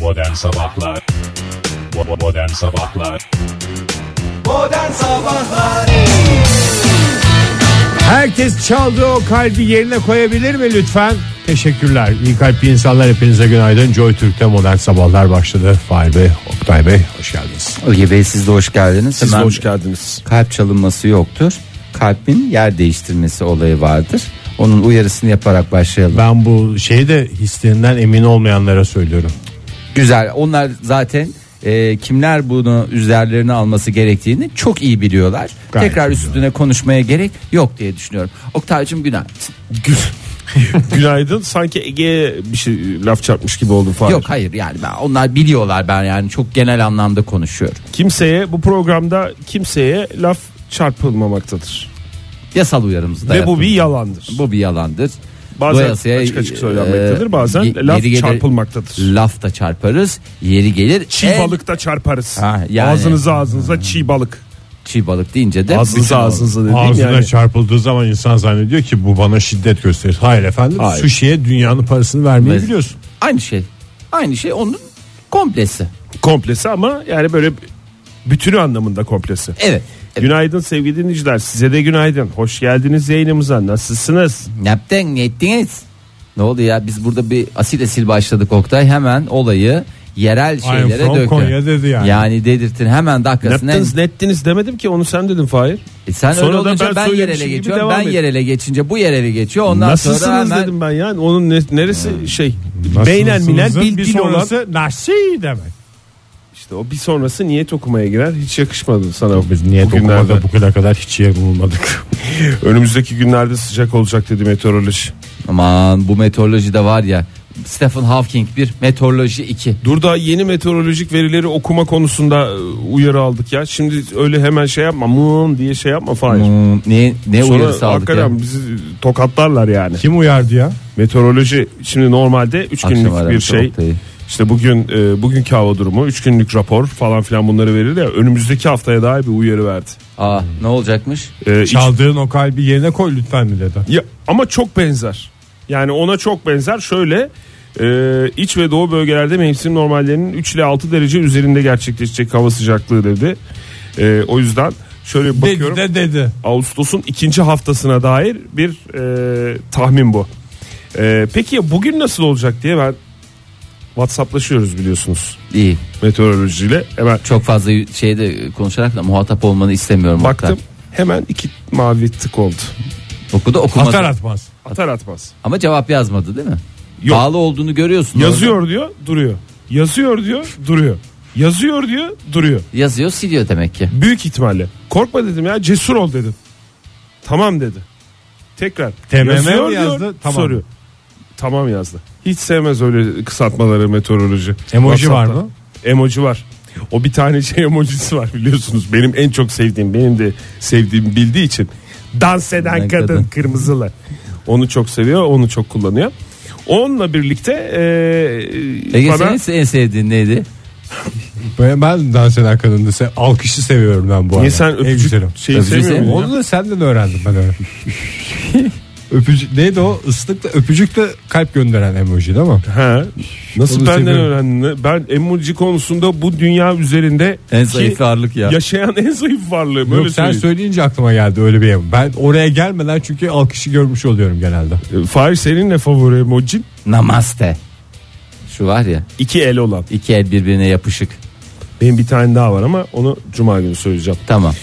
Modern Sabahlar Bo- Modern Sabahlar Modern Sabahlar Herkes çaldığı o kalbi yerine koyabilir mi lütfen? Teşekkürler. İyi kalpli insanlar hepinize günaydın. Joy Türk'te modern sabahlar başladı. Fahir Bey, Oktay Bey hoş geldiniz. Ölge Bey siz de hoş geldiniz. Siz de Hemen hoş geldiniz. Kalp çalınması yoktur. Kalbin yer değiştirmesi olayı vardır. Onun uyarısını yaparak başlayalım. Ben bu şeyi de hislerinden emin olmayanlara söylüyorum. Güzel. Onlar zaten e, kimler bunu üzerlerine alması gerektiğini çok iyi biliyorlar. Gayet Tekrar iyi üstüne konuşmaya gerek yok diye düşünüyorum. Oktay'cım günaydın. Günaydın. Sanki Ege'ye bir şey laf çarpmış gibi oldum Fahir. Yok hayır yani ben, onlar biliyorlar ben yani çok genel anlamda konuşuyorum. Kimseye bu programda kimseye laf çarpılmamaktadır. Yasal uyarımızı da Ve bu bir yalandır. bu bir yalandır. Bazen Dolayısıyla, açık açık e, söylenmektedir. Bazen ye- laf yeri gelir- çarpılmaktadır. Laf da çarparız. Yeri gelir. Çiğ en- balık da çarparız. Ha, yani- Hmm. Ağzınıza ağzınıza çiğ balık. Çiğ balık deyince de bütün Ağzınıza ağzınıza dediğim Ağzına yani. çarpıldığı zaman insan zannediyor ki bu bana şiddet gösterir. Hayır efendim. Hayır. Sushi'ye dünyanın parasını vermeyi Ve- biliyorsun. Aynı şey. Aynı şey onun komplesi. Komplesi ama yani böyle bütünü anlamında komplesi. Evet. evet. Günaydın sevgili dinleyiciler. Size de günaydın. Hoş geldiniz yayınımıza. Nasılsınız? Ne yaptın ne ettiniz? Ne oldu ya biz burada bir asil asil başladık Oktay hemen olayı yerel şeylere from döktü. Konya dedi yani. Yani dedirtin hemen dakikasında. Nettiniz nettiniz demedim ki onu sen dedin Fahir. E sen öyle Sonra da olunca ben ben, söylemişim yerele gibi geçiyorum. devam Ben et. yerele geçince bu yerele geçiyor. Ondan sonra Nasılsınız hemen Hmm. dedim ben yani. Onun ne- neresi şey beynen minen Nasılsınızın bir bilgin olan. sonrası nasi demek. İşte o bir sonrası niyet okumaya girer. Hiç yakışmadı sana. Biz niyet bugünlerde. okumada bugüne kadar hiç yer bulmadık. Önümüzdeki günlerde sıcak olacak dedi meteoroloji. aman bu meteoroloji de var ya. Stephen Hawking bir meteoroloji 2. Dur daha yeni meteorolojik verileri okuma konusunda e, uyarı aldık ya. Şimdi öyle hemen şey yapma mın diye şey yapma Fahir. Hmm, Ne ne Sonra uyarısı aldık ya. hakikaten bizi tokatlarlar yani. Kim uyardı ya? Meteoroloji şimdi normalde 3 Akşam günlük bir araması şey. Oktay'ı. İşte bugün e, bugünkü hava durumu 3 günlük rapor falan filan bunları verir ya önümüzdeki haftaya dair bir uyarı verdi. Aa Ah, ne olacakmış? E, iç- Çaldığın o kalbi yerine koy lütfen mi dedi. ya, ama çok benzer. Yani ona çok benzer. Şöyle e, iç ve doğu bölgelerde mevsim normallerinin 3 ile 6 derece üzerinde gerçekleşecek hava sıcaklığı dedi. E, o yüzden şöyle bakıyorum. Dedi de dedi. Ağustos'un ikinci haftasına dair bir e, tahmin bu. E, peki ya bugün nasıl olacak diye ben WhatsApp'laşıyoruz biliyorsunuz İyi. meteorolojiyle. Hemen Çok fazla şeyde konuşarak da muhatap olmanı istemiyorum. baktım Oktay. hemen iki mavi tık oldu. Okudu okumadı. Atar atmaz. Atar atmaz. Ama cevap yazmadı değil mi? Yok. Bağlı olduğunu görüyorsun. orada. Yazıyor diyor duruyor. Yazıyor diyor duruyor. Yazıyor diyor duruyor. Yazıyor siliyor demek ki. Büyük ihtimalle. Korkma dedim ya cesur ol dedim. Tamam dedi. Tekrar. TMM mi Yazıyor yazdı? diyor, Tamam. Soruyor. Tamam yazdı. Hiç sevmez öyle kısaltmaları meteoroloji. Emoji var WhatsApp'ta. mı? Emoji var. O bir tane şey emojisi var biliyorsunuz. Benim en çok sevdiğim, benim de sevdiğim bildiği için. Dans eden Eden kadın, kadın. kırmızılı. Onu çok seviyor, onu çok kullanıyor. Onunla birlikte eee Ege bana- senin en sevdiğin neydi? Ben, ben dans eden kadını se- alkışı seviyorum ben bu arada. Niye sen En öpücük güzelim. şeyi Öpücüğü sevmiyor musun? Onu da senden öğrendim ben öyle. öpücük neydi o? Islıkla öpücükle kalp gönderen emoji değil mi? Ha. Nasıl Onu benden seviyorum. öğrendin? Ben emoji konusunda bu dünya üzerinde En ki zayıf ağırlık ya. yaşayan en zayıf varlığım. Yok öyle sen söyleyeyim. söyleyince aklıma geldi öyle bir emoji. Ben oraya gelmeden çünkü alkışı görmüş oluyorum genelde. E, Fahir senin ne favori emojin? Namaste. Şu var ya İki el olan. iki el birbirine yapışık. Benim bir tane daha var ama onu cuma günü söyleyeceğim. Tamam.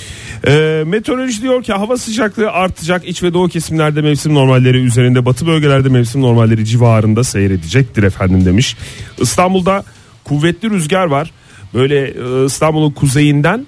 E, meteoroloji diyor ki hava sıcaklığı artacak. İç ve doğu kesimlerde mevsim normalleri üzerinde, batı bölgelerde mevsim normalleri civarında seyredecektir efendim demiş. İstanbul'da kuvvetli rüzgar var. Böyle e, İstanbul'un kuzeyinden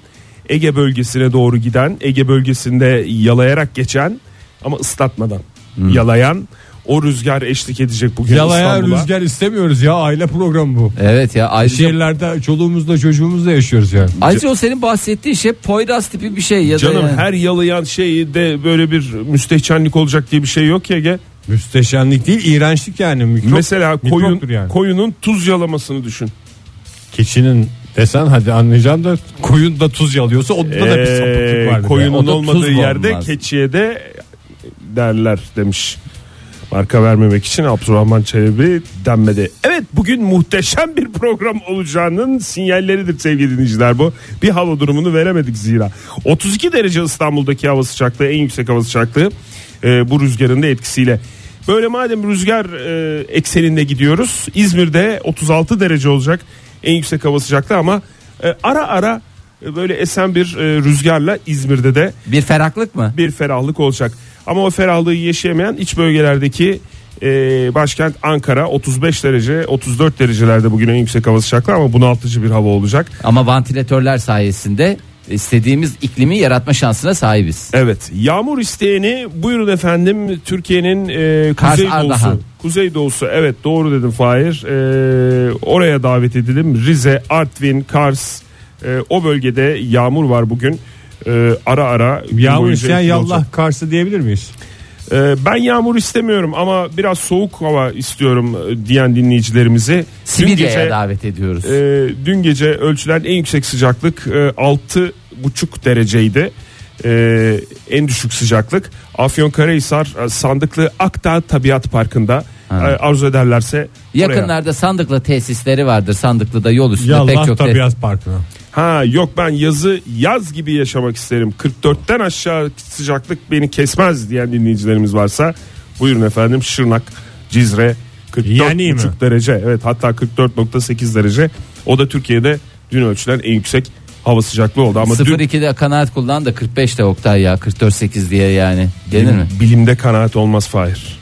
Ege bölgesine doğru giden, Ege bölgesinde yalayarak geçen ama ıslatmadan yalayan o rüzgar eşlik edecek bugün Yalaya İstanbul'a. rüzgar istemiyoruz ya aile programı bu. Evet ya ayrıca, Şey- Şehirlerde çoluğumuzla çocuğumuzla yaşıyoruz yani. ayrıca o senin bahsettiğin şey Poyraz tipi bir şey ya da Canım yani- her yalayan şeyde böyle bir müstehcenlik olacak diye bir şey yok ya Ege. Müsteşenlik değil iğrençlik yani. Mikrop, Mesela koyun mikroptur yani. koyunun tuz yalamasını düşün. Keçinin desen hadi anlayacağım da koyun da tuz yalıyorsa onda da bir sapıklık Ee, vardır. koyunun O da tuz olmadığı mu yerde olmaz? keçiye de derler demiş. Marka vermemek için Abdurrahman Çelebi denmedi. Evet bugün muhteşem bir program olacağının sinyalleridir sevgili dinleyiciler bu. Bir hava durumunu veremedik zira. 32 derece İstanbul'daki hava sıcaklığı en yüksek hava sıcaklığı e, bu rüzgarın da etkisiyle. Böyle madem rüzgar e, ekseninde gidiyoruz İzmir'de 36 derece olacak en yüksek hava sıcaklığı ama e, ara ara e, böyle esen bir e, rüzgarla İzmir'de de Bir feraklık mı? bir ferahlık olacak. Ama o ferahlığı yaşayamayan iç bölgelerdeki e, başkent Ankara 35 derece 34 derecelerde bugün en yüksek hava sıcaklığı ama bunaltıcı bir hava olacak. Ama vantilatörler sayesinde istediğimiz iklimi yaratma şansına sahibiz. Evet yağmur isteyeni buyurun efendim Türkiye'nin e, Kars kuzeydoğusu. Ardahan. Kuzeydoğusu evet doğru dedim Fahir. E, oraya davet edelim. Rize, Artvin, Kars e, o bölgede yağmur var bugün. E, ara ara. gün Yağmur boyunca isteyen etkili olacak. yallah karşı diyebilir miyiz? Ee, ben yağmur istemiyorum ama biraz soğuk hava istiyorum e, diyen dinleyicilerimizi. Dün Sibirya'ya gece, davet ediyoruz. e, dün gece ölçülen en yüksek sıcaklık e, altı buçuk dereceydi. E, en düşük sıcaklık Afyonkarahisar e, Sandıklı Akdağ Tabiat Parkı'nda E, arzu ederlerse oraya. Yakınlarda sandıklı tesisleri vardır. Sandıklı'da yol üstünde pek Yallah çok te- tabiat parkına. Ha yok ben yazı yaz gibi yaşamak isterim. 44'ten aşağı sıcaklık beni kesmez diyen dinleyicilerimiz varsa buyurun efendim Şırnak, Cizre 44,5 Yani mi? derece. Evet hatta 44.8 derece. O da Türkiye'de dün ölçülen en yüksek hava sıcaklığı oldu ama dün 02'de kanaat kullan da 45 de Oktay ya 44.8 diye yani. Gelir mi? bilimde kanaat olmaz Fahir.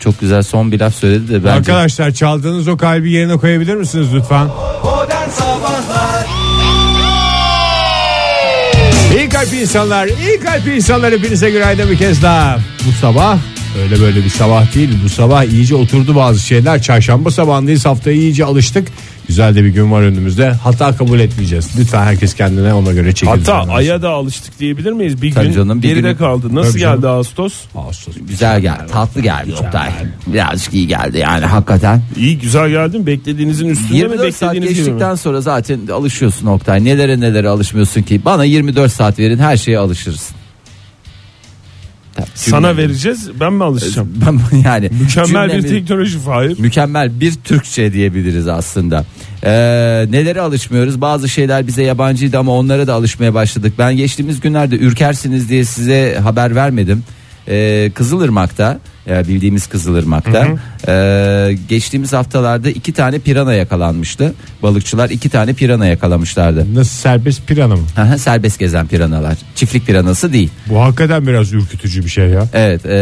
Çok güzel son bir laf söyledi de bence. Arkadaşlar çaldığınız o kalbi yerine koyabilir misiniz lütfen? İyi kalp insanlar, iyi kalp insanlar hepinize günaydın bir kez daha. Bu sabah öyle böyle bir sabah değil. Bu sabah iyice oturdu bazı şeyler. Çarşamba sabahındayız haftaya iyice alıştık. Güzel de bir gün var önümüzde. Hata kabul etmeyeceğiz. Lütfen herkes kendine ona göre çekilsin. Hatta aya da alıştık diyebilir miyiz? Bir Tabii gün canım, bir geride gün- kaldı. Nasıl Tabii geldi canım. Ağustos? Ağustos. Güzel geldi tatlı geldi Oktay. Birazcık iyi geldi yani hakikaten. İyi güzel geldi mi? Beklediğinizin üstünde mi? 24 saat Beklediğiniz gibi mi? geçtikten sonra zaten alışıyorsun Oktay. Nelere nelere alışmıyorsun ki? Bana 24 saat verin her şeye alışırsın. Tabii, Sana cümle- vereceğiz ben mi alışacağım? Ben yani Mükemmel bir cümlemi- teknoloji Fahir. mükemmel bir Türkçe diyebiliriz aslında. Ee, nelere alışmıyoruz? Bazı şeyler bize yabancıydı ama onlara da alışmaya başladık. Ben geçtiğimiz günlerde ürkersiniz diye size haber vermedim. Ee, Kızılırmak'ta e, bildiğimiz Kızılırmak'ta e, geçtiğimiz haftalarda iki tane pirana yakalanmıştı. Balıkçılar iki tane pirana yakalamışlardı. Nasıl serbest pirana mı? Aha, Serbest gezen piranalar. Çiftlik piranası değil. Bu hakikaten biraz ürkütücü bir şey ya. Evet, e,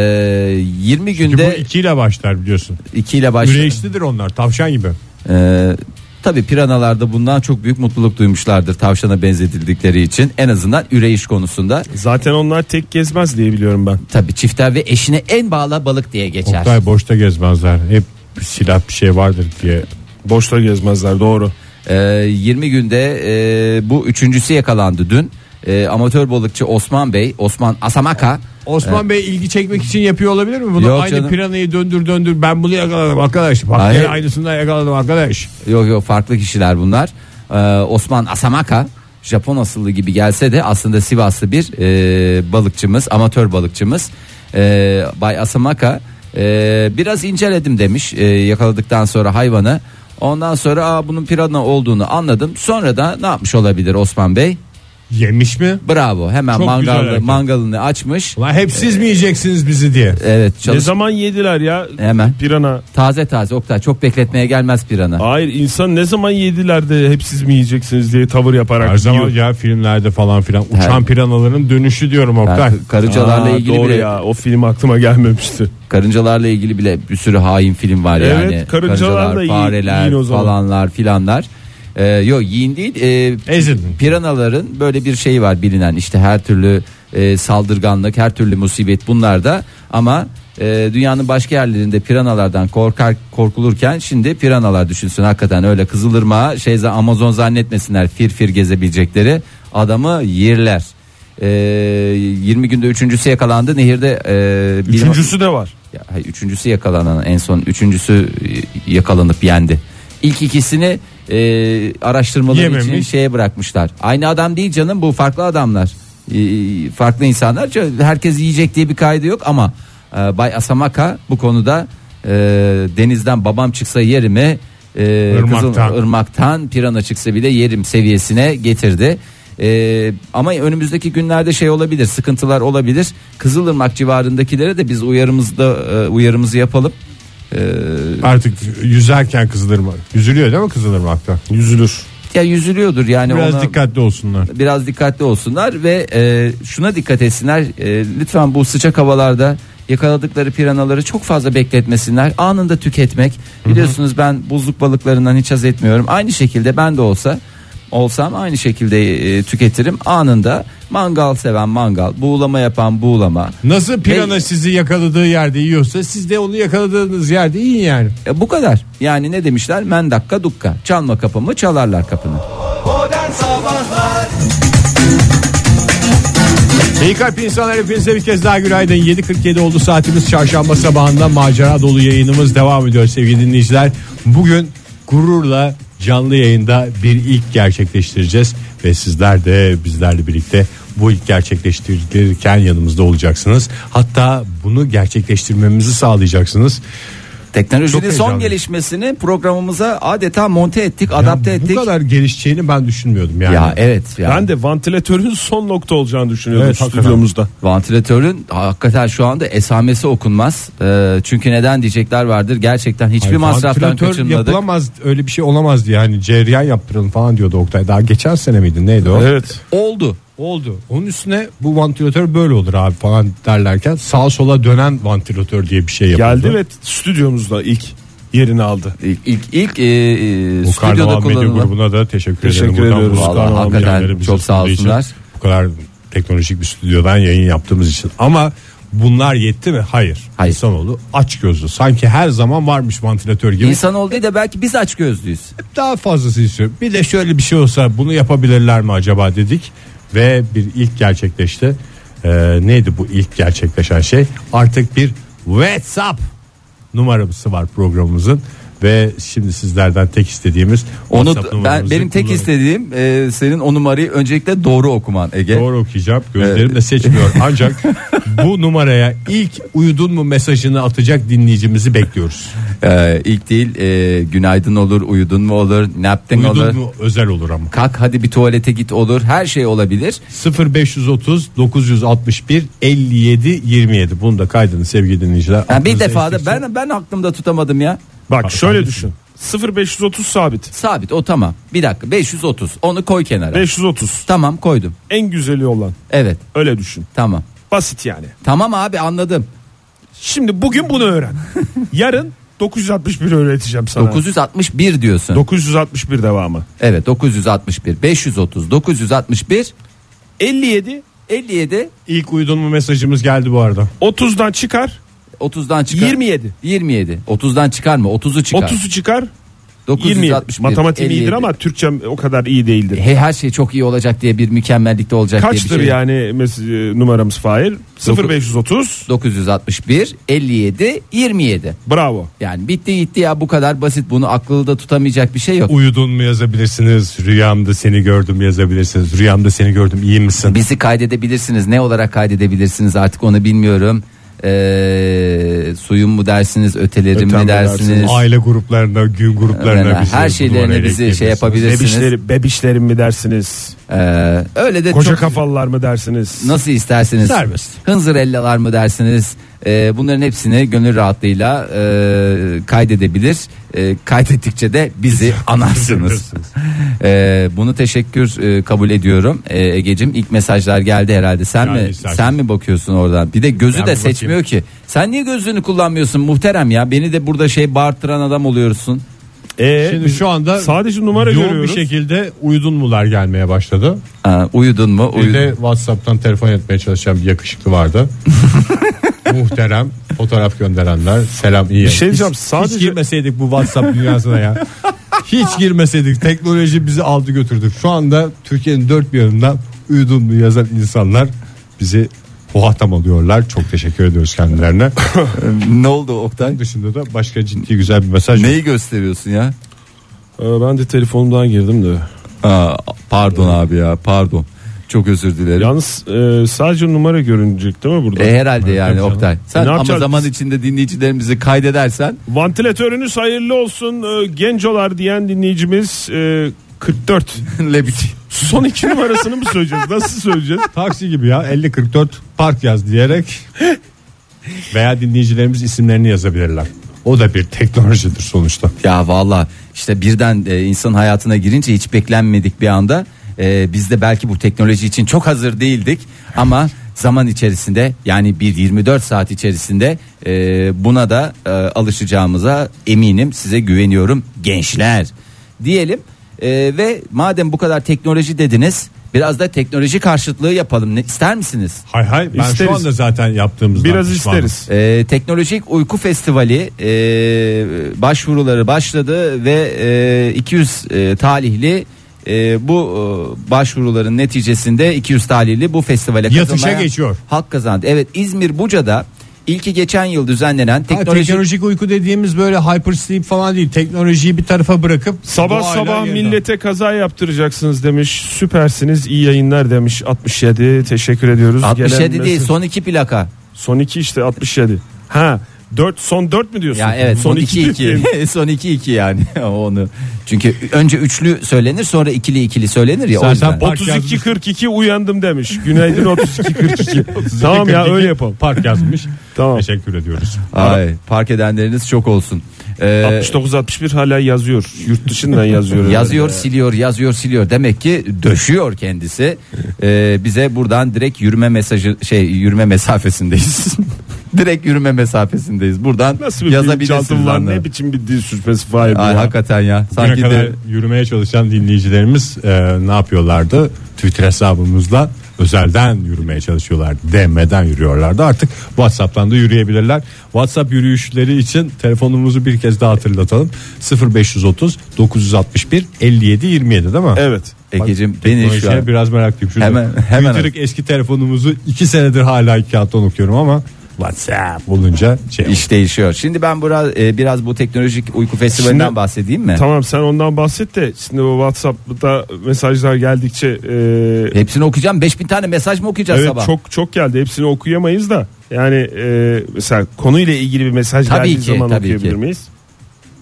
20 Ki bu günde ikiyle başlar biliyorsun. 2 ile başlıyor. Üreyişlidir onlar tavşan gibi. Ee, tabii piranalarda bundan çok büyük mutluluk duymuşlardır tavşana benzedildikleri için. En azından üreyiş konusunda. Zaten onlar tek gezmez diye biliyorum ben. Tabii çifter ve eşine en bağlı balık diye geçer. Oktay boşta gezmezler. Hep bir silah bir şey vardır diye. Boşta gezmezler doğru. Ee, 20 günde e, bu üçüncüsü yakalandı dün. Ee, amatör balıkçı Osman Bey, Osman Asamaka. Osman Bey ilgi çekmek için yapıyor olabilir mi? Bunu Yok aynı canım. piranayı döndür döndür ben bunu yakaladım arkadaş. Bak Hayır. gene aynısından yakaladım arkadaş. Yok yok farklı kişiler bunlar. Ee, Osman Asamaka Japon asıllı gibi gelse de aslında Sivaslı bir e, balıkçımız, amatör balıkçımız. Ee, Bay Asamaka e, biraz inceledim demiş e, yakaladıktan sonra hayvanı. Ondan sonra Aa, bunun pirana olduğunu anladım. Sonra da ne yapmış olabilir Osman Bey? Yemiş mi? Bravo hemen Çok güzel mangalı, hareket. mangalını açmış. Ulan hep siz mi yiyeceksiniz bizi diye. Evet Ne çalış. zaman yediler ya? Hemen. Pirana. Taze taze Oktay çok bekletmeye gelmez pirana. Hayır insan ne zaman yediler de hep siz mi yiyeceksiniz diye tavır yaparak Her zaman yiyor. ya filmlerde falan filan uçan Her- piranaların dönüşü diyorum Oktay. Ben karıncalarla Aa, ilgili doğru bile ya o film aklıma gelmemişti. Karıncalarla ilgili bile bir sürü hain film var Evet, yani. karıncalar da yiyin- fareler yiyin o zaman. falanlar filanlar. Ee, yok yiyin değil. e, Ezildin. piranaların böyle bir şeyi var bilinen işte her türlü e, saldırganlık, her türlü musibet bunlar da ama e, dünyanın başka yerlerinde piranalardan korkar korkulurken şimdi piranalar düşünsün hakikaten öyle Kızılırmağa şeyze Amazon zannetmesinler fir fir gezebilecekleri adamı yerler. E, 20 günde üçüncüsü yakalandı nehirde e, bir- Üçüncüsü de var. ya, hayır, üçüncüsü yakalanan en son üçüncüsü e, yakalanıp yendi. İlk ikisini e, araştırmaları için Yememiş. şeye bırakmışlar. Aynı adam değil e, canım bu farklı adamlar. E, farklı insanlar. Ç- Herkes yiyecek diye bir kaydı yok ama e, Bay Asamaka bu konuda e, denizden babam çıksa yerimi e, Irmaktan. Kızıl- ırmaktan pirana çıksa bile yerim seviyesine getirdi. E, ama önümüzdeki günlerde şey olabilir sıkıntılar olabilir Kızılırmak civarındakilere de biz uyarımızda e, uyarımızı yapalım Artık yüzerken kızılırmak. Yüzülüyor değil mi kızılırmakta? Yüzülür. ya yüzülüyordur yani Biraz ona- dikkatli olsunlar. biraz dikkatli olsunlar ve e, şuna dikkat etsinler. E, lütfen bu sıcak havalarda yakaladıkları piranaları çok fazla bekletmesinler. Anında tüketmek. Biliyorsunuz ben buzluk balıklarından hiç haz etmiyorum. Aynı şekilde ben de olsa olsam aynı şekilde e, tüketirim. Anında mangal seven mangal, buğulama yapan buğulama. Nasıl pirana Hey. sizi yakaladığı yerde yiyorsa siz de onu yakaladığınız yerde yiyin yani. E, bu kadar. Yani ne demişler? Men dakika dukka. Çalma kapımı çalarlar kapını. İyi kalp insanlar hepinize bir kez daha günaydın. 7.47 oldu saatimiz çarşamba sabahında macera dolu yayınımız devam ediyor sevgili dinleyiciler. Bugün gururla canlı yayında bir ilk gerçekleştireceğiz ve sizler de bizlerle birlikte bu ilk gerçekleştirirken yanımızda olacaksınız. Hatta bunu gerçekleştirmemizi sağlayacaksınız. Çok Teknolojinin son heyecanlı. gelişmesini programımıza adeta monte ettik, Ya adapte bu ettik. kadar gelişeceğini ben düşünmüyordum yani. Ya evet. Ya. Ben de vantilatörün son nokta olacağını düşünüyordum Evet, hakikaten. stüdyomuzda. Vantilatörün hakikaten şu anda esamesi okunmaz. Ee, çünkü neden diyecekler vardır. Gerçekten hiçbir Ay, masraftan vantilatör kaçınmadık. yapılamaz öyle bir şey olamaz diye hani cereyan yaptıralım falan diyordu Oktay. Daha geçen sene miydi neydi o? Evet. Oldu. Oldu. Onun üstüne bu vantilatör böyle olur abi falan derlerken sağa sola dönen vantilatör diye bir şey yapıldı. Geldi ve stüdyomuzda ilk yerini aldı. İlk ilk, ilk e, e, bu stüdyoda Karnaval Medya kullanılan. grubuna da teşekkür, Teşekkür ederim. Buradan ediyoruz. bu Vallahi Karnaval hakikaten medyamları bizi çok sağ sunduğu için, olsunlar. Bu kadar teknolojik bir stüdyodan yayın yaptığımız için. Ama bunlar yetti mi? Hayır. Hayır. İnsanoğlu aç gözlü. Sanki her zaman varmış vantilatör gibi. İnsan olduğu da belki biz aç gözlüyüz. daha fazlası istiyor. Bir de şöyle bir şey olsa bunu yapabilirler mi acaba dedik ve bir ilk gerçekleşti. Ee, neydi bu ilk gerçekleşen şey? Artık bir WhatsApp numaramızı var programımızın ve şimdi sizlerden tek istediğimiz WhatsApp Onu ben numaramızı benim tek kullanın. istediğim e, senin o numarayı öncelikle doğru okuman Ege. Doğru okuyacağım gözlerim de seçmiyor ancak bu numaraya ilk uyudun mu mesajını atacak dinleyicimizi bekliyoruz. Ee, ilk değil e, günaydın olur, uyudun mu olur, ne yaptın olur. Uyudun mu özel olur ama. Kalk hadi bir tuvalete git olur. Her şey olabilir. 0530 961 57 27. Bunu da kaydını sevgili dinleyiciler. Yani bir Aklınıza defa da estikçe- ben ben aklımda tutamadım ya. Bak Abi, şöyle abi. düşün. 0530 sabit. Sabit o tamam. Bir dakika 530 onu koy kenara. 530 Tamam koydum. en güzeli olan. Evet Öyle düşün. tamam. Basit yani. Tamam abi anladım. Şimdi bugün bunu öğren. Yarın 961 öğreteceğim sana. 961 diyorsun. 961 devamı. evet 961 530 961 57 57 ilk uyudun mu mesajımız geldi bu arada. 30'dan çıkar, 30'dan çıkar. 27. 27. 30'dan çıkar mı? 30'u çıkar. 30'u çıkar, 961 27. Matematiğim 57. iyidir ama Türkçem o kadar iyi değildir. Hey, her şey çok iyi olacak diye bir mükemmellikte olacak diye bir Kaçtır şey. yani mes- e, numaramız Fahir? 0530. 961 57 27. Bravo. Yani bitti gitti ya bu kadar basit bunu akıllı da tutamayacak bir şey yok. Uyudun mu yazabilirsiniz. Rüyamda seni gördüm yazabilirsiniz. Rüyamda seni gördüm iyi misin? Bizi kaydedebilirsiniz. Ne olarak kaydedebilirsiniz artık onu bilmiyorum. Ee, suyum mu dersiniz, ötelerim Ötem mi mi dersiniz? dersiniz? Aile gruplarına, gün gruplarına Öyle, bizi her bu şeylerine numarayla bizi şey ekleyebilirsiniz. yapabilir- Bilirsiniz. Bebişleri, bebişlerim mi dersiniz? Ee, öyle de Koca çok- kafalılar mı dersiniz? nasıl isterseniz. Serbest. Hınzır ellalar mı dersiniz? Ee, bunların hepsini gönül rahatlığıyla e, kaydedebilir. E, kaydettikçe de bizi anarsınız. Ee, bunu teşekkür e, kabul ediyorum. Ee, Egecim ilk mesajlar geldi herhalde. Sen Yani mi istersen. sen mi bakıyorsun oradan? Bir de gözü Ben de bir bakayım. seçmiyor ki. Sen niye gözlüğünü kullanmıyorsun muhterem ya? Beni de burada şey bağırtıran adam oluyorsun. Ee, Şimdi biz şu anda sadece numara yoğun görüyoruz. bir şey- şekilde uyudun mular gelmeye başladı. Aa, uyudun mu? Bir de Uyudun. Whatsapp'tan telefon etmeye çalışan bir yakışıklı vardı. Muhterem fotoğraf gönderenler selam iyi. Bir şey diyeceğim, hiç, sadece- hiç girmeseydik bu WhatsApp dünyasına ya. Hiç girmeseydik teknoloji bizi aldı götürdü. Şu anda Türkiye'nin dört bir yanından uyudun mu yazan insanlar bizi muhatap alıyorlar. Çok teşekkür ediyoruz kendilerine. Ne oldu Oktay? Bunun dışında da başka ciddi güzel bir mesaj. Neyi gösteriyorsun ya? Ee, ben de telefonumdan girdim de. Aa, pardon abi ya pardon. Çok özür dilerim. Yalnız e, sadece numara görünecek değil mi burada? E, herhalde yani canım. Oktay. Sen E, ne ama yapacağız zaman biz? içinde dinleyicilerimizi kaydedersen Vantilatörünüz hayırlı olsun e, gencolar diyen dinleyicimiz e, 44. lebit. Son iki numarasını mı söyleyeceğiz? Nasıl söyleyeceğiz? Taksi gibi ya 50-44 park yaz diyerek veya dinleyicilerimiz isimlerini yazabilirler. O da bir teknolojidir sonuçta. Ya valla işte birden e, insan hayatına girince hiç beklenmedik bir anda e, biz de belki bu teknoloji için çok hazır değildik ama zaman içerisinde yani bir 24 saat içerisinde e, buna da e, alışacağımıza eminim size güveniyorum gençler diyelim E, ve madem bu kadar teknoloji dediniz biraz da teknoloji karşıtlığı yapalım ne, ister misiniz? Hay hay ben İsteriz. şu anda zaten yaptığımızdan Biraz pişmanım. isteriz. Ee, Teknolojik Uyku Festivali e, başvuruları başladı ve e, 200 e, talihli e, bu e, başvuruların neticesinde 200 talihli bu festivale Yatışa katılmaya geçiyor. Hak kazandı. Evet İzmir Buca'da ilki geçen yıl düzenlenen Ha, teknolojik, teknolojik uyku dediğimiz böyle hyper sleep falan değil. Teknolojiyi bir tarafa bırakıp Sabah doğayla sabah yeniden- millete kaza yaptıracaksınız demiş. Süpersiniz iyi yayınlar demiş 67. Teşekkür ediyoruz. 67 Gelen değil mesaj- son iki plaka. Son iki işte 67. Ha 4 son 4 mü diyorsun? Ya evet son iki 2 2. son 2 2 yani onu. Çünkü önce üçlü söylenir sonra ikili ikili söylenir ya. o Zaten yüzden. bu- 32 42 uyandım demiş. Günaydın 32 42. tamam ya 42 öyle yapalım. Park yazmış. Tamam. Teşekkür ediyoruz. Ay, park edenleriniz çok olsun. Ee, 69 61 hala yazıyor. Yurt dışından yazıyor. herhalde. Yazıyor, siliyor, yazıyor, siliyor. Demek ki döşüyor kendisi. Ee, bize buradan direkt yürüme mesajı şey yürüme mesafesindeyiz. direkt yürüme mesafesindeyiz. Buradan Nasıl bir yazabilirsiniz. yazabilirsiniz var anlamına. ne biçim bir dil sürçmesi fayda. Ay, ya. hakikaten ya. Bugüne Sanki kadar de yürümeye çalışan dinleyicilerimiz e, ne yapıyorlardı? Twitter hesabımızla özelden yürümeye çalışıyorlardı. DM'den yürüyorlardı. Artık WhatsApp'tan da yürüyebilirler. WhatsApp yürüyüşleri için telefonumuzu bir kez daha hatırlatalım. 0530 961 57 27 değil mi? Evet. Egeciğim beni şu Teknolojiye an biraz meraklıyım. Şurada Hemen- hemen Twitter'lık eski telefonumuzu 2 senedir hala kağıttan okuyorum ama WhatsApp olunca şey iş değişiyor. Şimdi ben biraz biraz bu teknolojik uyku festivalinden Şimdi- bahsedeyim mi? Tamam sen ondan bahset de şimdi bu WhatsApp'ta mesajlar geldikçe e, Hepsini okuyacağım. 5000 tane mesaj mı okuyacağız Evet sabah? çok çok geldi. Hepsini okuyamayız da. Yani e, mesela konuyla ilgili bir mesaj Tabii geldiği ki, zaman tabii okuyabilir ki. miyiz?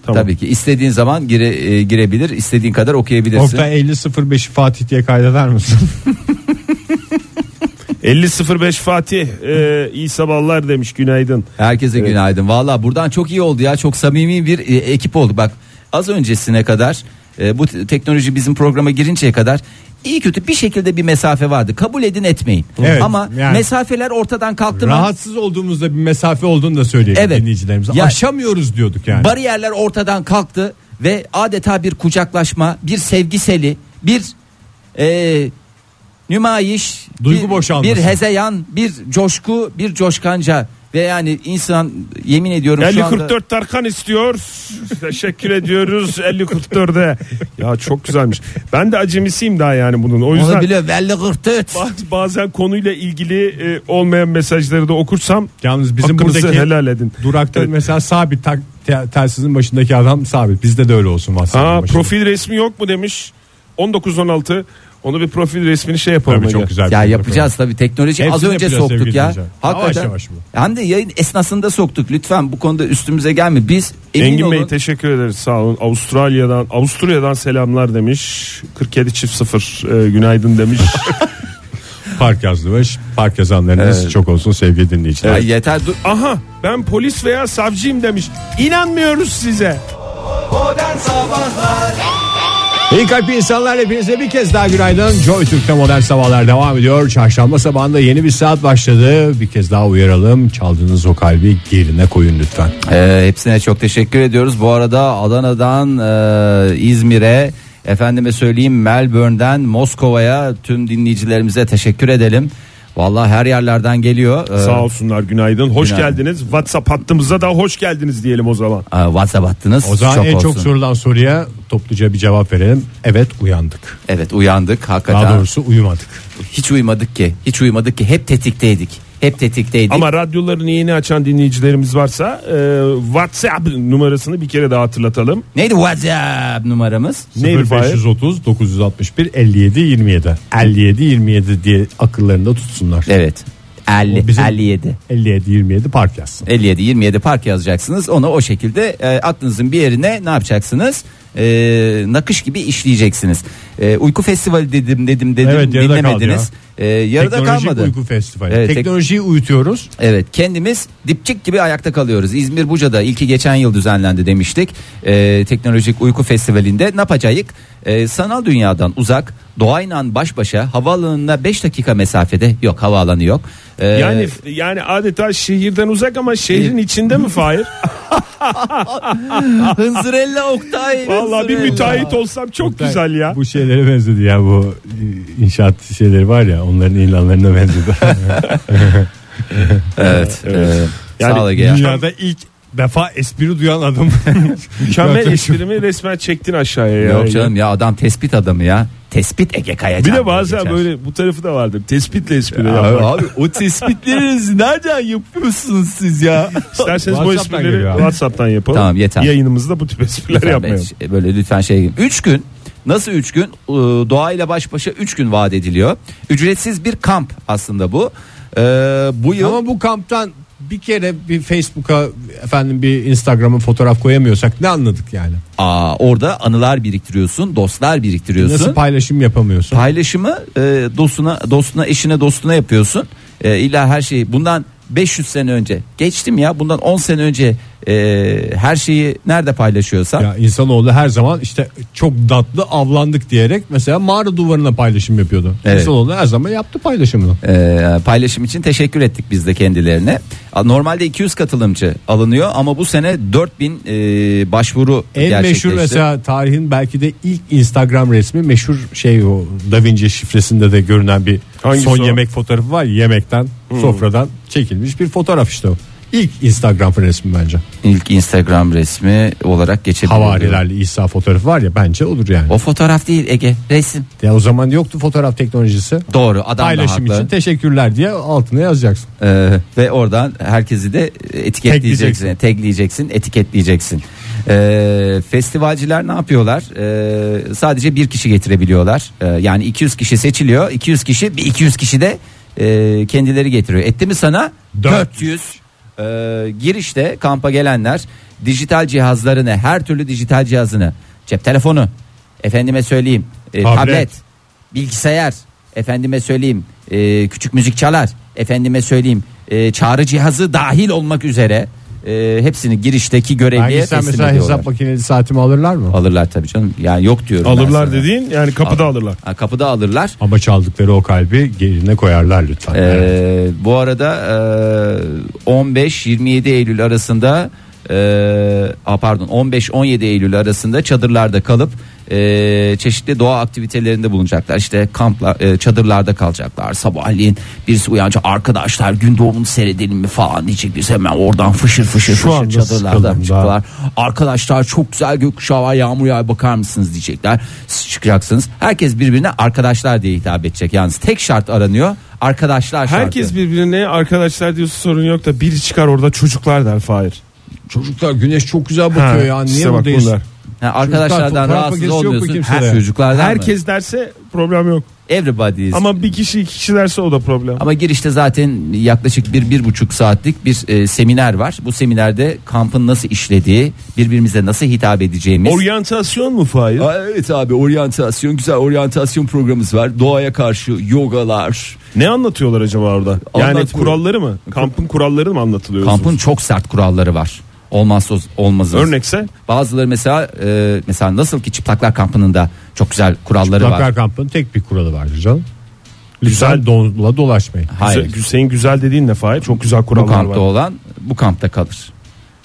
Tamam. Tabii ki istediğin zaman gire, e, girebilir, istediğin kadar okuyabilirsin. Oktay 5005'i Fatih diye kaydeder misin? 50.05 Fatih e, iyi sabahlar demiş günaydın. Herkese günaydın. Valla buradan çok iyi oldu ya. Çok samimi bir e, ekip oldu. Bak az öncesine kadar e, bu te- teknoloji bizim programa girinceye kadar iyi kötü bir şekilde bir mesafe vardı. Kabul edin etmeyin. Evet, Ama yani. mesafeler ortadan kalktı mı? Rahatsız olduğumuzda bir mesafe olduğunu da söyleyelim Evet. dinleyicilerimize. Ya- Aşamıyoruz diyorduk yani. Bariyerler ortadan kalktı ve adeta bir kucaklaşma, bir sevgi seli, bir e, nümayiş, Duygu bir, boşalması. bir hezeyan, bir coşku, bir coşkanca ve yani insan yemin ediyorum şu anda 50.44 Tarkan istiyor. Teşekkür ediyoruz 50.44'e. Ya çok güzelmiş. Ben de acemisiyim daha yani bunun. O onu yüzden bile belli kırtıt. baz- bazen konuyla ilgili e, olmayan mesajları da okursam Yalnız bizim hakkınızı buradaki helal edin. durakta Evet. mesela sabit tak, te- telsizin başındaki adam sabit. Bizde de öyle olsun WhatsApp'ın Ha başında. profil resmi yok mu demiş. 1916 onu bir profil resmini şey yapalım. Tabii Ege. çok güzel. Ya bir yapacağız tabii teknoloji Hepsini az önce yapacağız soktuk sevgili ya. dinleyiciler. Hakikaten. Yavaş yavaş bu. Hem de yayın esnasında soktuk. Lütfen bu konuda üstümüze gelme. Biz emin Engin olun. Bey teşekkür ederiz sağ olun. Avustralya'dan Avusturya'dan selamlar demiş. 47 çift sıfır e, günaydın demiş. program. Park yazdı ve ş- park yazanlarınız çok olsun sevgili dinleyiciler. Ay yeter dur. Aha ben polis veya savcıyım demiş. İnanmıyoruz size. İyi kalpli insanlar hepinize bir kez daha günaydın. Joy Türk'te modern sabahlar devam ediyor. Çarşamba sabahında yeni bir saat başladı. Bir kez daha uyaralım. Çaldığınız o kalbi yerine koyun lütfen. Ee, hepsine çok teşekkür ediyoruz. Bu arada Adana'dan e, İzmir'e efendime söyleyeyim Melbourne'den Moskova'ya tüm dinleyicilerimize teşekkür edelim. Vallahi her yerlerden geliyor. Ee, Sağ olsunlar günaydın. Hoş Günaydın. geldiniz. WhatsApp hattımıza da hoş geldiniz diyelim o zaman. e, WhatsApp attınız. O zaman en olsun. çok sorulan soruya topluca bir cevap verelim. Evet uyandık. Evet uyandık hakikaten. Daha doğrusu uyumadık. Hiç uyumadık ki. Hiç uyumadık ki. Hep tetikteydik. Hep tetikteydik. Ama radyolarını yeni açan dinleyicilerimiz varsa e, WhatsApp numarasını bir kere daha hatırlatalım. Neydi WhatsApp numaramız? Neydi Fahir? 0530 961 57 27 57 27 diye akıllarında tutsunlar. Evet. 50, O bizim- 57. 57 27 park yazsın. 57 27 park yazacaksınız. Onu o şekilde e, aklınızın bir yerine ne yapacaksınız? E, nakış gibi işleyeceksiniz. E, uyku festivali dedim dedim dedim Evet, yarıda kaldı dinlemediniz. E, yarıda Teknolojik kalmadı. uyku festivali. Evet, tek- Teknolojiyi uyutuyoruz. Evet kendimiz dipçik gibi ayakta kalıyoruz. İzmir Buca'da ilki geçen yıl düzenlendi demiştik. Ee, Teknolojik Uyku Festivali'nde ne yapacağız? Ee, sanal dünyadan uzak, doğayla baş başa, havaalanına 5 dakika mesafede. Yok havaalanı yok. Ee, Yani yani adeta şehirden uzak ama şehrin E, içinde mi Fahir? Hınzırella Oktay. Vallahi bir Hınzırella. müteahhit olsam çok güzel ya. Bu şeylere benzedi ya bu e, inşaat şeyleri var ya onların ilanlarına benzedi. Evet. evet. Yani Sağ ol Ege. ya. Dünyada ilk defa espri duyan adam. Mükemmel Yaklaşım. esprimi resmen çektin aşağıya ya. Yok canım ya adam tespit adamı ya. Tespit Ege Kayacan. Bir de diye bazen geçer. böyle bu tarafı da vardır. Tespitle espri Abi, yapmak. abi o tespitlerinizi nereden yapıyorsunuz siz ya? İsterseniz bu WhatsApp'tan esprileri geliyor abi. WhatsApp'tan yapalım. Tamam, yeter. Yayınımızda bu tip espriler Lütfen yapmayalım. ben- e, böyle lütfen şey. 3 gün nasıl 3 gün? Ee, Doğayla baş başa 3 gün vaat ediliyor. Ücretsiz bir kamp aslında bu. Ee, bu yıl Ama bu kamptan bir kere bir Facebook'a efendim bir Instagram'a fotoğraf koyamıyorsak ne anladık yani? Aa, orada anılar biriktiriyorsun, dostlar biriktiriyorsun. Nasıl paylaşım yapamıyorsun? Paylaşımı e, dostuna, dostuna, eşine, dostuna yapıyorsun. E, illa her şeyi bundan 500 sene önce geçtim ya bundan 10 sene önce e, her şeyi nerede paylaşıyorsan Ya insanoğlu her zaman işte çok tatlı avlandık diyerek mesela mağara duvarına paylaşım yapıyordu. Evet. İnsanoğlu her zaman yaptı paylaşımını. Ee, paylaşım için teşekkür ettik biz de kendilerine. A, Normalde 200 katılımcı alınıyor ama bu sene 4000 e, başvuru En gerçekleşti. meşhur mesela tarihin belki de ilk Instagram resmi meşhur şey o Da Vinci şifresinde de görünen bir Hangisi son o? yemek fotoğrafı var ya, yemekten Hmm. sofradan çekilmiş bir fotoğraf işte o. İlk Instagram resmi bence. İlk Instagram resmi olarak geçebilir. Havarilerle İsa fotoğrafı var ya bence olur yani. O fotoğraf değil Ege resim. Ya o zaman yoktu fotoğraf teknolojisi. Doğru adam da Paylaşım haklı. için teşekkürler diye altına yazacaksın. Ee, ve oradan herkesi de Tekleyeceksin. etiketleyeceksin, tekleyeceksin, etiketleyeceksin. Ee, festivalciler ne yapıyorlar? Ee, sadece bir kişi getirebiliyorlar. Ee, yani 200 kişi seçiliyor, 200 kişi, bir 200 kişi de e, kendileri getiriyor. Etti mi sana? 400. Ee, girişte kampa gelenler dijital cihazlarını, her türlü dijital cihazını, cep telefonu, efendime söyleyeyim, e, Tablet. tablet, bilgisayar efendime söyleyeyim e, küçük müzik çalar efendime söyleyeyim e, çağrı cihazı dahil olmak üzere e, hepsini girişteki görevliye Belki sen teslim mesela ediyorlar. hesap makineli saatimi alırlar mı? Alırlar tabii canım yani yok diyorum. ben Alırlar sana. dediğin yani kapıda Al- alırlar. Ha, kapıda alırlar. Ama çaldıkları o kalbi yerine koyarlar lütfen. Ee, Bu arada e, 15-27 Eylül arasında e, ah, pardon 15-17 Eylül arasında çadırlarda kalıp e, çeşitli doğa aktivitelerinde bulunacaklar. İşte kamplar, e, çadırlarda kalacaklar. Sabahleyin birisi uyanacak arkadaşlar gün doğumunu seyredelim mi falan diyecek birisi hemen oradan fışır fışır Şu fışır anda çadırlarda sıkıldım çıktılar. Arkadaşlar çok güzel gökkuşağı var yağmur yağar bakar mısınız diyecekler. Siz çıkacaksınız. Herkes birbirine arkadaşlar diye hitap edecek. Yalnız tek şart aranıyor. Arkadaşlar şartı. Herkes birbirine arkadaşlar diyorsa sorun yok da biri çıkar orada çocuklar der Fahir. Çocuklar güneş çok güzel Ha, bakıyor ya. Niye işte bak buradayız? bunlar. Ha, arkadaşlardan Çocuklar, rahatsız propagandası yok mu olmuyorsun. kimsede? Her çocuklardan Herkes Herkes derse problem yok. everybody is. Ama Ama bir kişi iki kişi derse o da problem. girişte zaten yaklaşık bir bir buçuk saatlik bir e, seminer var. Bu seminerde kampın nasıl işlediği, birbirimize nasıl hitap edeceğimiz. Oryantasyon mu Fahir? Aa, evet abi oryantasyon güzel oryantasyon programımız var. Doğaya karşı yogalar. Ne anlatıyorlar acaba orada? Yani Anlatmıyor. kuralları mı? Kampın kuralları mı anlatılıyor? Kampın çok sert kuralları var. Olmazsa olmazız. örnekse Bazıları mesela e, mesela nasıl ki çıplaklar kampının da çok güzel kuralları var. Dakar kampının tek bir kuralı vardır canım. Lütfen donla dolaşmayın. Hayır. Güzel, senin güzel dediğin ne Fahir? Çok güzel bu kurallar kampta var. olan bu kampta kalır.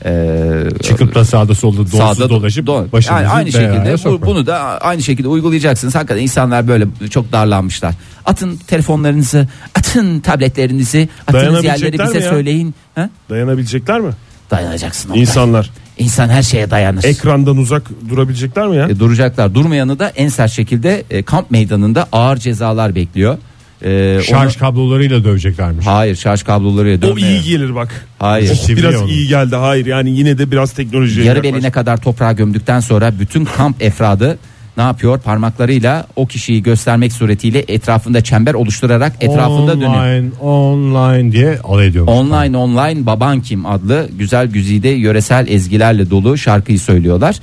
Ee, Çıkıp da sağda solda donsuz sağda dolaşıp don- başınızı yani aynı şekilde bu- bunu bunu da aynı şekilde uygulayacaksınız. Hakikaten insanlar böyle çok darlanmışlar. Atın telefonlarınızı, atın tabletlerinizi, atınız Dayanabilecekler yerleri bize mi ya? söyleyin. Ha? Dayanabilecekler mi? Dayanacaksın. Oktay. İnsanlar İnsan her şeye dayanır. ekrandan uzak durabilecekler mi ya? E, duracaklar. Durmayanı da en sert şekilde e, kamp meydanında ağır cezalar bekliyor. e, Şarj kablolarıyla döveceklermiş. onu- hayır şarj kablolarıyla O iyi dönmüyor. gelir bak. Hayır. Oh, Sivri biraz onu. iyi geldi. Hayır yani yine de biraz teknolojiye Yarı yaklaş- beline kadar toprağa gömdükten sonra bütün kamp efradı ne yapıyor? Parmaklarıyla o kişiyi göstermek suretiyle etrafında çember oluşturarak etrafında dönüyor. online, online diye alay ediyormuş. Online Online Baban Kim adlı güzel güzide yöresel ezgilerle dolu şarkıyı söylüyorlar.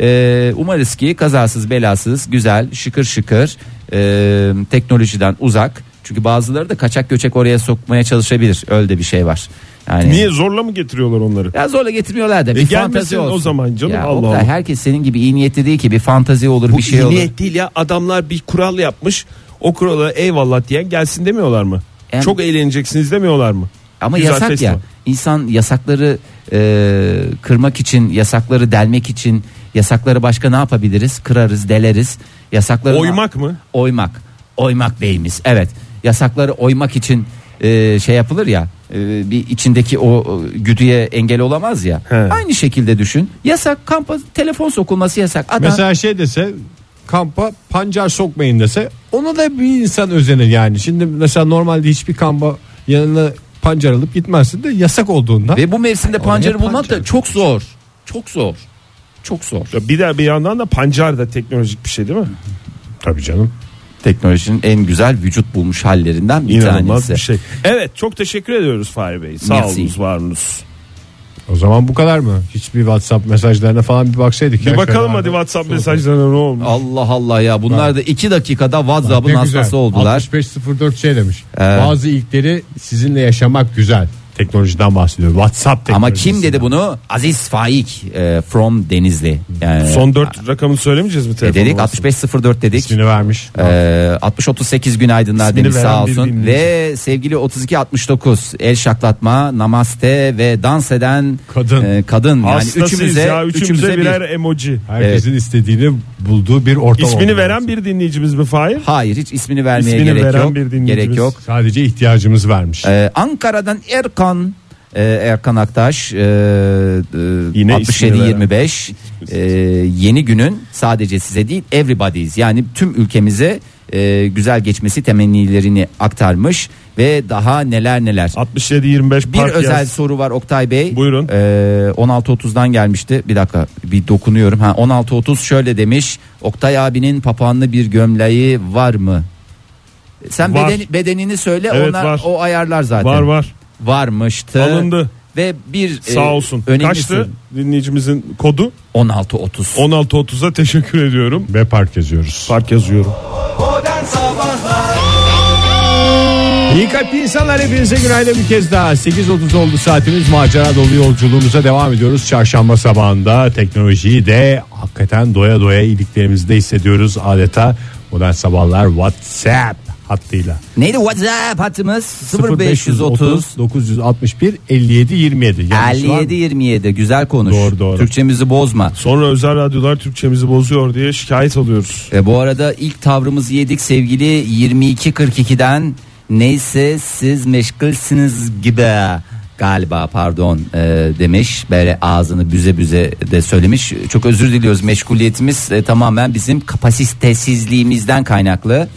Ee, umarız ki kazasız belasız güzel şıkır şıkır e, teknolojiden uzak. Çünkü bazıları da kaçak göçek oraya sokmaya çalışabilir. Öyle de bir şey var. Yani Niye zorla mı getiriyorlar onları? ya zorla getirmiyorlar da bir E fantazi gelmesin o olsun. zaman canım, Ya Allah Oktay, Allah. Herkes senin gibi iyi niyetli değil ki bir fantazi olur bir şey iyi olur. niyet değil ya adamlar bir kural yapmış. O kurala eyvallah diyen gelsin demiyorlar mı? Yani- Çok eğleneceksiniz demiyorlar mı? Ama Güzel yasak festival. ya. İnsan yasakları e, kırmak için, yasakları delmek için, yasakları başka ne yapabiliriz? Kırarız, deleriz. Yasakları Oymak mı? Oymak. Oymak beyimiz. Evet. Yasakları oymak için e, şey yapılır ya. e, bir içindeki o e, güdüye engel olamaz ya. He. Aynı şekilde düşün. Yasak kampa telefon sokulması yasak. Adam Mesela şey dese kampa pancar sokmayın dese ona da bir insan özenir yani. Şimdi mesela normalde hiçbir kampa yanına pancar alıp gitmezsin de yasak olduğunda. ve bu mevsimde pancarı bulmak pancar. da çok zor. Çok zor. Çok zor. Ya bir de bir yandan da pancar da teknolojik bir şey değil mi? Tabii canım. Teknolojinin en güzel vücut bulmuş hallerinden bir İnanılmaz tanesi. bir şey. Evet çok teşekkür ediyoruz Fahri Bey. Sağ Merci. olunuz varınız. O zaman bu kadar mı? Hiçbir WhatsApp mesajlarına falan bir baksaydık. Bir bakalım hadi WhatsApp mesajlarına ne olmuş. Allah Allah ya bunlar da iki dakikada WhatsApp'ın hastası oldular. 6504 şey demiş. Bazı ilkleri sizinle yaşamak güzel. Teknolojiden bahsediyor. WhatsApp Ama teknolojisi. kim dedi bunu? Aziz Faik e, from Denizli. Yani, Son dört rakamını söylemeyeceğiz mi? e, telefon dedik numarasını? 6504 dedik. İsmini vermiş. E, 6038 günaydınlar İsmini demiş sağ veren bir olsun. dinleyici. Ve sevgili 3269 el şaklatma, namaste ve dans eden Kadın. e, kadın. Yani Hastasıyız üçümüze, ya üçümüze, üçümüze bir- birer emoji. Herkesin istediğini bulduğu bir ortam. İsmini olmalı. veren bir dinleyicimiz mi Fahir? Hayır hiç ismini vermeye İsmini gerek veren yok. bir dinleyicimiz. Gerek yok. Sadece ihtiyacımız vermiş. Ee, Ankara'dan Erkan e, Erkan Aktaş e, e, Yine 67 ismini veren. 25 e, yeni günün sadece size değil everybody's yani tüm ülkemize e, güzel geçmesi temennilerini aktarmış ve daha neler neler. 67-25 Bir park özel yaz. soru var Oktay Bey. Buyurun. Ee, 16.30'dan gelmişti. Bir dakika bir dokunuyorum. Ha 16.30 şöyle demiş. Oktay abinin papağanlı bir gömleği var mı? Sen Var. beden- bedenini söyle Evet, onlar var. o ayarlar zaten. Var var Varmıştı. alındı. Ve bir e, Sağ olsun. önemli Kaçtı soru. dinleyicimizin kodu? 16.30. 16.30'a teşekkür ediyorum. Ve park yazıyoruz. Park yazıyorum. İyi kalpli insanlar hepinize günaydın bir kez daha. 8.30 oldu saatimiz macera dolu yolculuğumuza devam ediyoruz. Çarşamba sabahında teknolojiyi de hakikaten doya doya iyiliklerimizde hissediyoruz. Adeta modern sabahlar WhatsApp hattıyla. Neydi WhatsApp hattımız? 0530 961 57 27. Yanlış var mı? 57 27 güzel konuş. Doğru, doğru. Türkçemizi bozma. Sonra özel radyolar Türkçemizi bozuyor diye şikayet alıyoruz. E, bu arada ilk tavrımızı yedik sevgili 22.42'den neyse siz meşgulsünüz gibi galiba pardon e, demiş böyle ağzını büze büze de söylemiş çok özür diliyoruz meşguliyetimiz e, tamamen bizim kapasitesizliğimizden kaynaklı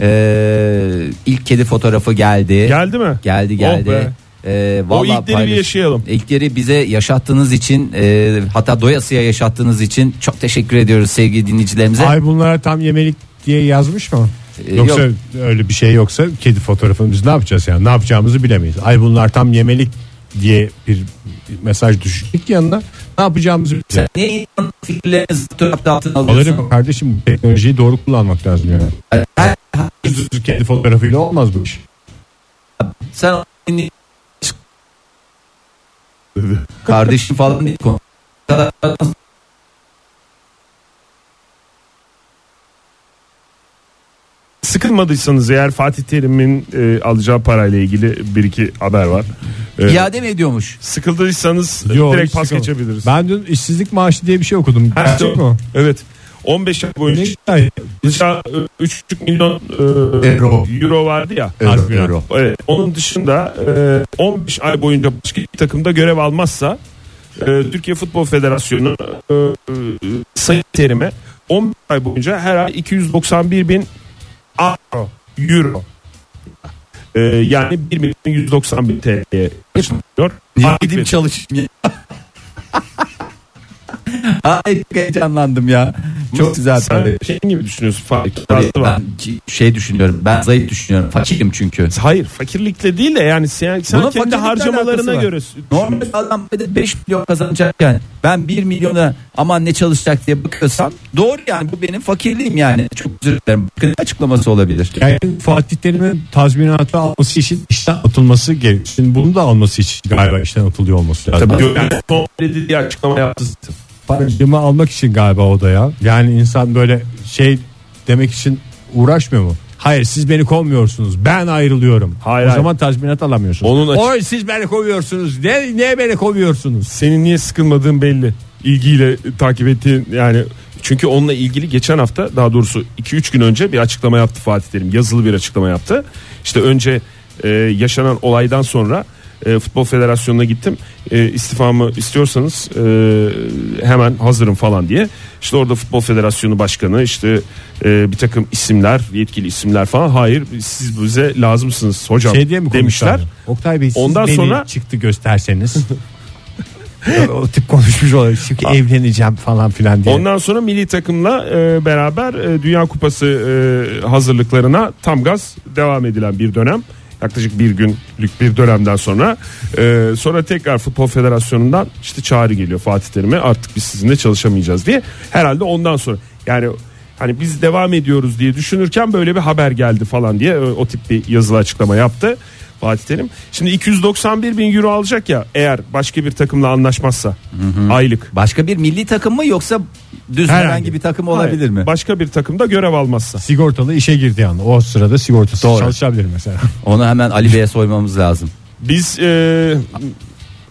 E, ilk kedi fotoğrafı geldi Geldi mi? geldi Oh geldi be. E, O vallahi ilkleri bir paylaş- yaşayalım. İlkleri bize yaşattığınız için e, hatta doyasıya yaşattığınız için çok teşekkür ediyoruz sevgili dinleyicilerimize. Ay bunlara tam yemelik diye yazmış mı? Ee, Yoksa yok. öyle bir şey yoksa kedi fotoğrafını biz ne yapacağız yani ne yapacağımızı bilemeyiz. Ay bunlar tam yemelik diye bir mesaj düştük yanına ne yapacağımızı bilemeyiz. Ne fikirlerinizi fotoğraf altına Alırım alıyorsun? kardeşim bu teknolojiyi doğru kullanmak lazım yani. Her- Düz düz kedi fotoğrafıyla olmaz bu iş. Sen kardeşim falan değil. konu. Sıkılmadıysanız eğer Fatih Terim'in e, alacağı parayla ilgili bir iki haber var. E, İade mi ediyormuş? sıkıldıysanız e, Yok, direkt hiç pas sıkılmam. geçebiliriz. Ben dün işsizlik maaşı diye bir şey okudum. Ha, Gerçek mi o? Evet. 15 ay Ne boyunca güzel. Dışa, e, 3,5 milyon e, Euro. euro. vardı ya. Euro, Euro. Evet. Ee, Onun dışında e, 15 ay boyunca başka bir takımda görev almazsa e, Türkiye Futbol Federasyonu e, e, Sayın Terim'e 15 ay boyunca her ay 291 bin euro Ee, yani 1 milyon 190 bin TL'ye açılıyor. Niye Fark gideyim etmedi. çalışayım ya? Ay çok heyecanlandım ya. Çok güzel Sen tabii. şey gibi düşünüyorsun fark Tabii, var. Ben ki- şey düşünüyorum. Ben zayıf düşünüyorum. Fakirim çünkü. Hayır fakirlikle değil de yani sen, sen Bunun kendi fakirlikle alakası harcamalarına var. göre. Normal adam 5 milyon kazanacakken ben 1 milyona aman ne çalışacak diye bakıyorsam doğru yani bu benim fakirliğim yani. Çok özür dilerim. Bakın açıklaması olabilir. Yani Fatih Terim'in tazminatı alması için işten atılması gerekiyor. Şimdi bunu da alması için galiba işten atılıyor olması lazım. Tabii Gökhan Son dedi diye açıklama yaptı. zaten. Paracımı almak için galiba o da ya. Yani insan böyle şey demek için uğraşmıyor mu? Hayır siz beni kovmuyorsunuz. Ben ayrılıyorum. Hayır, o hayır. zaman tazminat alamıyorsunuz. Onun açık- Oy siz beni kovuyorsunuz. Ne, niye beni kovuyorsunuz? Senin niye sıkılmadığın belli. İlgiyle takip ettiğin yani çünkü onunla ilgili geçen hafta daha doğrusu 2-3 gün önce bir açıklama yaptı Fatih Terim. Yazılı bir açıklama yaptı. İşte önce e, yaşanan olaydan sonra e, Futbol Federasyonu'na gittim. E, istifamı istiyorsanız e, hemen hazırım falan diye. İşte orada Futbol Federasyonu Başkanı işte e, bir takım isimler yetkili isimler falan. Hayır siz bize lazımsınız hocam Şey diye mi demişler. konuştular? Oktay Bey siz Ondan beni sonra- çıktı gösterseniz. o tip konuşmuş olabilir. Çünkü evleneceğim falan filan diye. Ondan sonra milli takımla e, beraber e, Dünya Kupası e, hazırlıklarına tam gaz devam edilen bir dönem. Yaklaşık bir günlük bir dönemden sonra e, sonra tekrar Futbol Federasyonu'ndan işte çağrı geliyor Fatih Terim'e artık biz sizinle çalışamayacağız diye. Herhalde ondan sonra yani hani biz devam ediyoruz diye düşünürken böyle bir haber geldi falan diye e, o tip bir yazılı açıklama yaptı Fatih Terim. Şimdi 291 bin euro alacak ya eğer başka bir takımla anlaşmazsa aylık. Başka bir milli takım mı yoksa düz herhangi, Herhangi. bir takım olabilir mi? Başka bir takımda görev almazsa. Sigortalı işe girdiği an. O sırada sigortası Doğru. çalışabilir mesela. Onu hemen Ali Bey'e soymamız lazım. Biz e,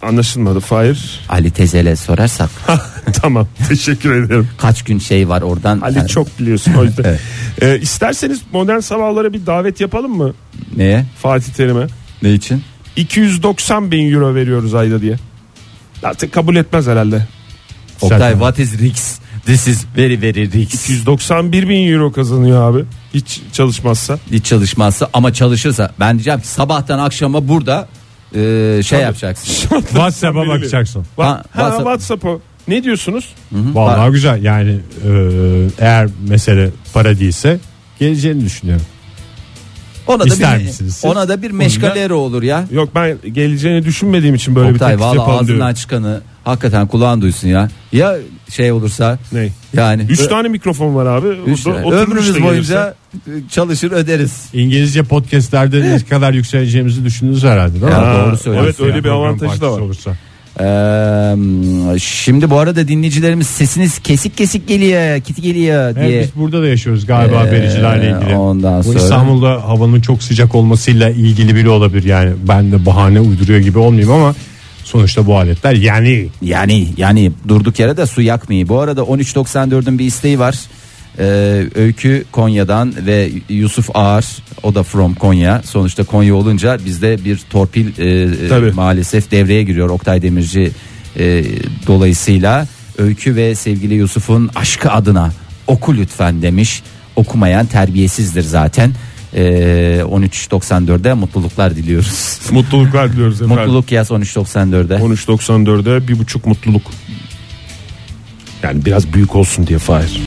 anlaşılmadı Fahir. Ali Tezel'e sorarsak tamam teşekkür ederim. kaç gün şey var oradan. Ali Yani- çok biliyorsun o yüzden. E, isterseniz modern sabahlara bir davet yapalım mı Neye? Fatih Terim'e? Ne için? 290 bin euro veriyoruz ayda diye. Artık kabul etmez herhalde. Oktay Zaten. what is risk? This is very very risk. 291 bin euro kazanıyor abi. Hiç çalışmazsa. Hiç çalışmazsa ama çalışırsa ben diyeceğim ki sabahtan akşama burada e, şey yapacaksın. WhatsApp'a bakacaksın. Ha, Ha, WhatsApp- WhatsApp'a. Ne diyorsunuz? Vallahi güzel yani e, eğer mesele para değilse geleceğini düşünüyorum. Ona da İster bir misiniz siz? ona da bir meşgalero olur ya. Yok ben geleceğini düşünmediğim için böyle bir Oktay teklif valla yapalım ağzından diyorum. çıkanı hakikaten kulağın duysun ya. Ya şey olursa Ne? yani Üç tane mikrofon var abi. Üç Orada tane. oturmuş da ömrümüz gelirse. boyunca e, çalışır öderiz. İngilizce podcastlerde ne kadar yükseleceğimizi düşündünüz herhalde değil mi? Ya, Ha, doğru söylüyorsun. Evet öyle Yani bir program avantajı da var. parçası olursa. Ee, şimdi bu arada dinleyicilerimiz sesiniz kesik kesik geliyor, kiti geliyor diye. Evet, biz burada da yaşıyoruz galiba Ee, vericilerle ilgili. ondan Bu sonra- İstanbul'da havanın çok sıcak olmasıyla ilgili bile olabilir yani. Ben de bahane uyduruyor gibi olmayayım ama sonuçta bu aletler yani Yani yani durduk yere de su yakmayı. Bu arada 13.94'ün bir isteği var. Ee, Öykü Konya'dan ve Yusuf Ağar o da from Konya. Sonuçta Konya olunca bizde bir torpil e, e, Tabii. maalesef devreye giriyor Oktay Demirci e, dolayısıyla. Öykü ve sevgili Yusuf'un aşkı adına oku lütfen demiş. Okumayan terbiyesizdir zaten. Ee, 13.94'e mutluluklar diliyoruz. Mutluluklar diliyoruz efendim. Mutluluk yaz 13.94'e. 13.94'e bir buçuk mutluluk. Yani biraz büyük olsun diye Fahir.